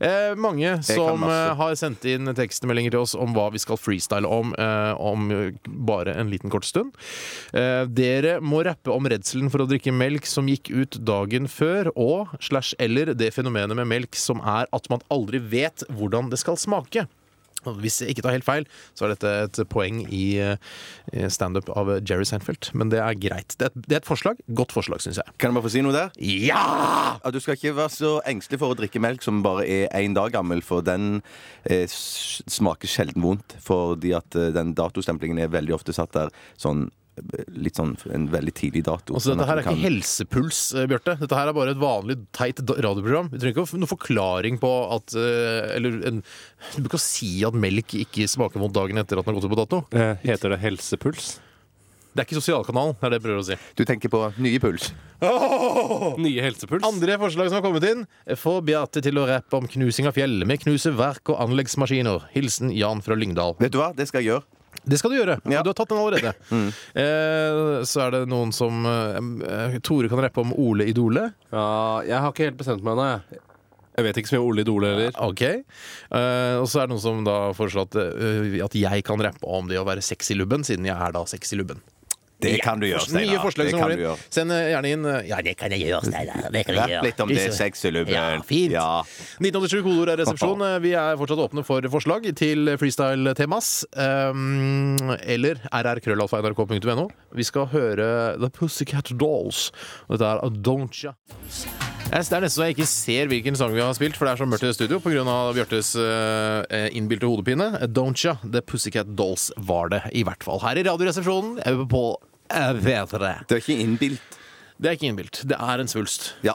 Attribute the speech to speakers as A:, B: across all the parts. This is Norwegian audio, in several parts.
A: Eh, mange som
B: masse.
A: eh, har sendt inn tekstmeldinger til oss om hva vi skal freestyle om eh, om eh, bare en liten kort stund. Eh, dere må rappe om redselen for å drikke melk som gikk ut dagen før, og slash eller det fenomenet med melk som er at man aldri vet hvordan det skal smake. Og Hvis jeg ikke tar helt feil, så er dette et poeng i eh, standup av Jerry Seinfeld. Men det er greit. Det er et, det er et forslag. Godt forslag, syns jeg.
B: Kan jeg bare få si noe der?
A: Ja!
B: At du skal ikke være så engstelig for å drikke melk som bare er én dag gammel, for den eh, s- smaker sjelden vondt. Fordi at eh, den datostemplingen er veldig ofte satt der sånn eh, litt sånn en veldig tidlig dato.
A: Altså,
B: sånn
A: dette
B: at
A: her
B: du
A: er ikke
B: kan-
A: helsepuls, eh, Bjarte. Dette her er bare et vanlig teit da- radioprogram. Vi trenger ikke å få noen forklaring på at eh, Eller en, du bruker å si at melk ikke smaker vondt dagen etter at den har gått ut på dato.
C: Eh, Heter det helsepuls?
A: Det er ikke sosialkanalen, det er det jeg prøver å si.
B: Du tenker på nye puls.
C: Nye helsepuls?
A: Andre forslag som har kommet inn. Få Beate til å rappe om knusing av fjell med knuseverk og anleggsmaskiner. Hilsen Jan fra Lyngdal.
B: Vet du hva? Det skal jeg gjøre.
A: Det skal du gjøre.
B: Ja. Mm.
A: Du har tatt den allerede. Eh, så er det noen som eh, Tore kan rappe om Ole Idole.
C: Ja, jeg har ikke helt bestemt meg ennå, jeg. Jeg vet ikke så mye om Ole Idole heller.
A: Ok. Eh, og så er det noen som da foreslår at, eh, at jeg kan rappe om det å være sexy-lubben, siden jeg er da sexy-lubben.
B: Det kan du gjøre, Steinar.
A: Nye forslag
B: Det
A: som
B: kan
A: kommer
B: du
A: inn.
B: gjøre.
A: Send eh, gjerne inn eh, Ja, det kan jeg gjøre, Steinar. Det kan jeg
B: Rapp
A: gjøre.
B: litt om det
A: Ikke-
B: sexylubben.
A: Ja, fint.
B: Ja.
A: 1987 kodeord er resepsjon. Eh, Vi er fortsatt åpne for forslag til freestyle-temas. Um, eller rrkrøllalfa.nrk.no. Vi skal høre The Pussycat Dolls. Og Dette er Adoncia. Jeg- Det er nesten så jeg ikke ser hvilken sang vi har spilt, for det er så mørkt i studio pga. Bjørtes eh, innbilte hodepine. Don'tcha, The Pussycat Dolls var det, i hvert fall. Her i Radioresepsjonen eh, på eh, P3.
B: Det er ikke innbilt.
A: Det er ikke innbilt. Det er en svulst.
B: Ja.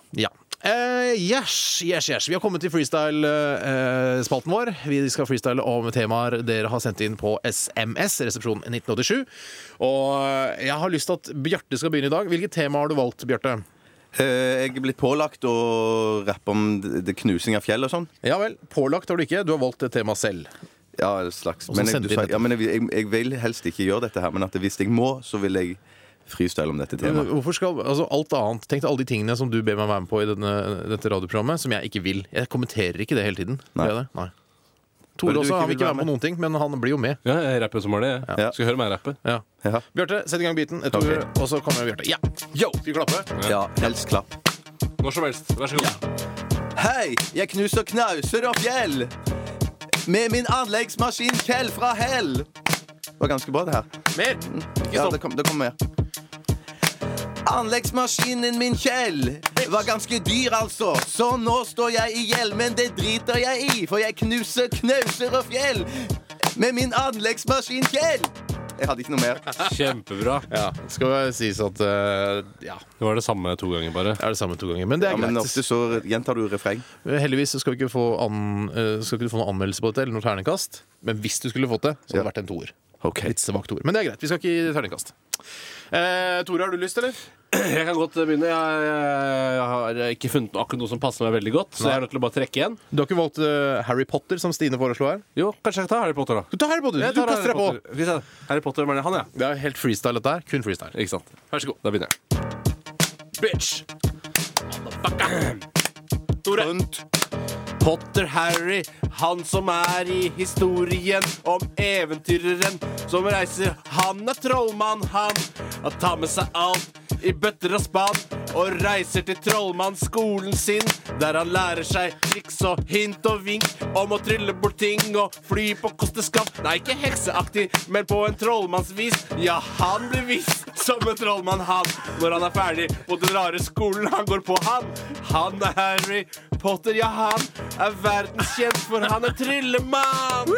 A: Eh, yes, yes, yes. Vi har kommet til freestyle-spalten vår. Vi skal freestyle om temaer dere har sendt inn på SMS, resepsjon 1987. Og eh, jeg har lyst til at Bjarte skal begynne i dag. Hvilket tema har du valgt, Bjarte?
B: Eh, Jeg er blitt pålagt å rappe om det det knusing av fjell og sånn.
A: Ja vel. Pålagt har du ikke. Du har valgt et tema selv.
B: Ja, et slags.
A: Og så
B: Men, jeg,
A: sender vi
B: du, sa,
A: dette.
B: ja, men jeg, jeg, jeg vil helst ikke gjøre dette her, men at hvis jeg må, så vil jeg freestyle om dette temaet.
A: Hvorfor skal altså alt annet Tenk deg alle de tingene som du ber meg være med på i denne, dette radioprogrammet, som jeg ikke vil. Jeg kommenterer ikke det hele tiden.
B: Nei.
A: Gjør jeg det? Nei.
B: Men
A: Tore
B: du
A: også,
B: ikke
A: han vil
B: vil
A: ikke
B: være
A: være med på noen ting, men han blir jo med.
C: Ja, jeg rapper som var det. jeg.
B: Ja.
C: Skal høre meg rappe.
A: Ja.
B: Ja.
A: Bjarte, sett i gang biten. Et ord, og så kommer Bjarte. Ja! Yo! Skal vi klappe?
B: ja, helst klapp.
C: Når som helst. Vær så god.
B: Hei, jeg knuser knauser og fjell med min anleggsmaskin Kjell fra Hell. Det var ganske bra, det her.
A: Mer!
B: Ja, det kom- det kommer mer. Anleggsmaskinen min Kjell var ganske dyr, altså. Så nå står jeg i gjeld, men det driter jeg i, for jeg knuser knauser og fjell med min anleggsmaskin Kjell. Jeg hadde ikke noe mer.
C: Kjempebra.
A: Ja, skal det sies at eh, Ja,
C: Det var det samme to ganger, bare.
A: det er det samme to ganger. Men det er
B: Ja, men
A: greit. Eh,
B: ofte så gjentar du refreng.
A: Heldigvis så skal vi ikke få, an, eh, skal ikke du få noen anmeldelse på dette, eller noe terningkast. Men hvis du skulle fått det, så hadde det
B: Ja.
A: vært en toer.
B: Ok.
A: Litt svakt ord. Men det er greit. Vi skal ikke gi terningkast. Eh, Tore, har du lyst, eller?
C: Jeg kan godt begynne. Jeg, jeg har ikke funnet akkurat noe som passer meg veldig godt, så jeg er nødt til å bare trekke igjen.
A: Du har ikke valgt eh, Harry Potter, som Stine foreslo her?
C: Jo, kanskje jeg tar Harry Potter, da.
A: Du tar Harry Potter!
C: Jeg
A: Du
C: tar
A: kaster deg på!
C: Potter. Hvis jeg- Harry Potter, men han, ja.
A: Det er helt freestyle, dette her. Kun freestyle.
C: Ikke sant. Vær så god. Da begynner jeg. Bitch! Tore. Potter Harry, han som er i historien om eventyreren som reiser. Han er trollmann, han. Han tar med seg alt i bøtter og spann og reiser til trollmannsskolen sin, der han lærer seg triks og hint og vink om å trylle bort ting og fly på kosteskaft. Nei, ikke hekseaktig, men på en trollmannsvis. Ja, han blir visst som en trollmann, han, når han er ferdig på den rare skolen han går på, han. Han er Harry Potter, ja, han er verdenskjent, for han er tryllemann.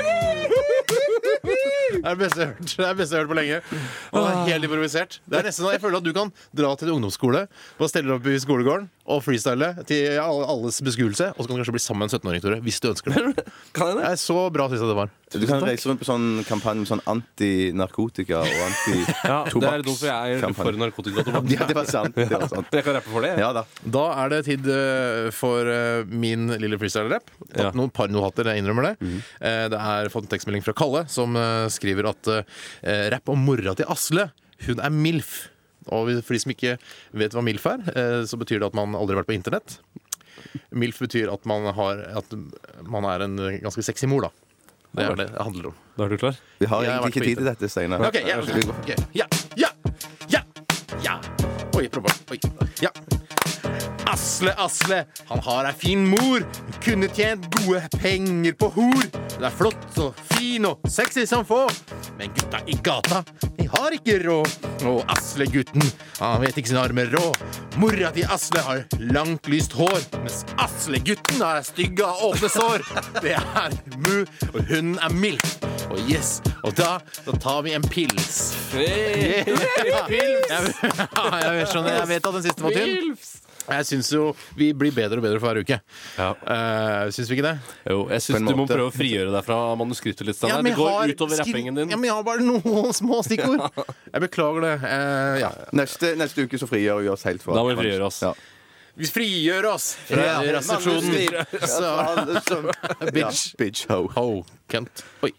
A: Det er det beste jeg har hørt. Det er det beste jeg har hørt på lenge. Og det er helt improvisert. Det er nesten sånn, Jeg føler at du kan dra til en ungdomsskole og stelle opp i skolegården og freestyle til ja, alles beskuelse, og så kan du kanskje bli sammen med en 17-åring, Tore, hvis du ønsker det.
C: Kan jeg
A: Det er så bra, syns jeg det var.
B: Du kan reise rundt på sånn kampanje med sånn antinarkotika og
C: Ja, det er dumt, for jeg er for
B: antitobakkskampanje.
C: narkotika og tobakk.
B: Ja, det var sant. Det var sant.
C: Jeg kan rappe for det. jeg.
B: Ja da.
A: Da er det tid eh, for eh, min lille freestyle-rapp.
C: Ja.
A: Tatt Noen par nohatter, jeg innrømmer det. Eh, Det er fått en tekstmelding fra Kalle, som eh, skriver at eh, rapp om mora til Asle, hun er MILF. Og for de som ikke vet hva MILF er, eh, så betyr det at man aldri har vært på internett. MILF betyr at man, har, at man er en eh, ganske sexy mor, da. Det er det det handler om.
D: Da er du klar?
B: Vi har
A: Jeg har
B: egentlig
A: vært
B: ikke
A: på
B: tid til dette, Steinar.
A: Ok, ja,
B: Vi går-
A: ok, ja, ja, ja, ja. Oi, jeg prøver. Oi, ja. Asle, Asle, han har ei fin mor. Hun kunne tjent gode penger på hor. Hun er flott og fin og sexy som få. Men gutta i gata, de har ikke råd. Og Asle-gutten, han vet ikke sin arme råd. Mora til Asle har langt, lyst hår, mens Asle-gutten har stygge og åpne sår. Det er Mu, og hun er Milf. Og yes, og da, da tar vi en pils.
D: Hey.
A: Jeg, ja, jeg, skjønner, jeg vet at den siste var tynn. Jeg syns jo vi blir bedre og bedre for hver uke.
D: Ja.
A: Uh, syns vi ikke det?
D: Jo, jeg
B: På
D: syns
B: en
D: du må
B: måte.
D: prøve å frigjøre deg fra manuskriptet litt. Steinar. det
A: jeg
D: går
A: har
D: utover
A: skri-
D: rappingen din.
A: Ja, men jeg har bare noen små stikkord. Jeg beklager det. Eh, ja.
B: Neste, neste uke så frigjør vi oss helt fra
D: Da må vi frigjøre oss.
B: Ja.
A: Vi frigjør oss fra
B: Ja.
A: resepsjonen.
B: Manus frigjør.
A: Så
B: altså. Ja, som-
A: Bitch.
B: Ja, bitch ho.
A: Ho, Kent. Oi.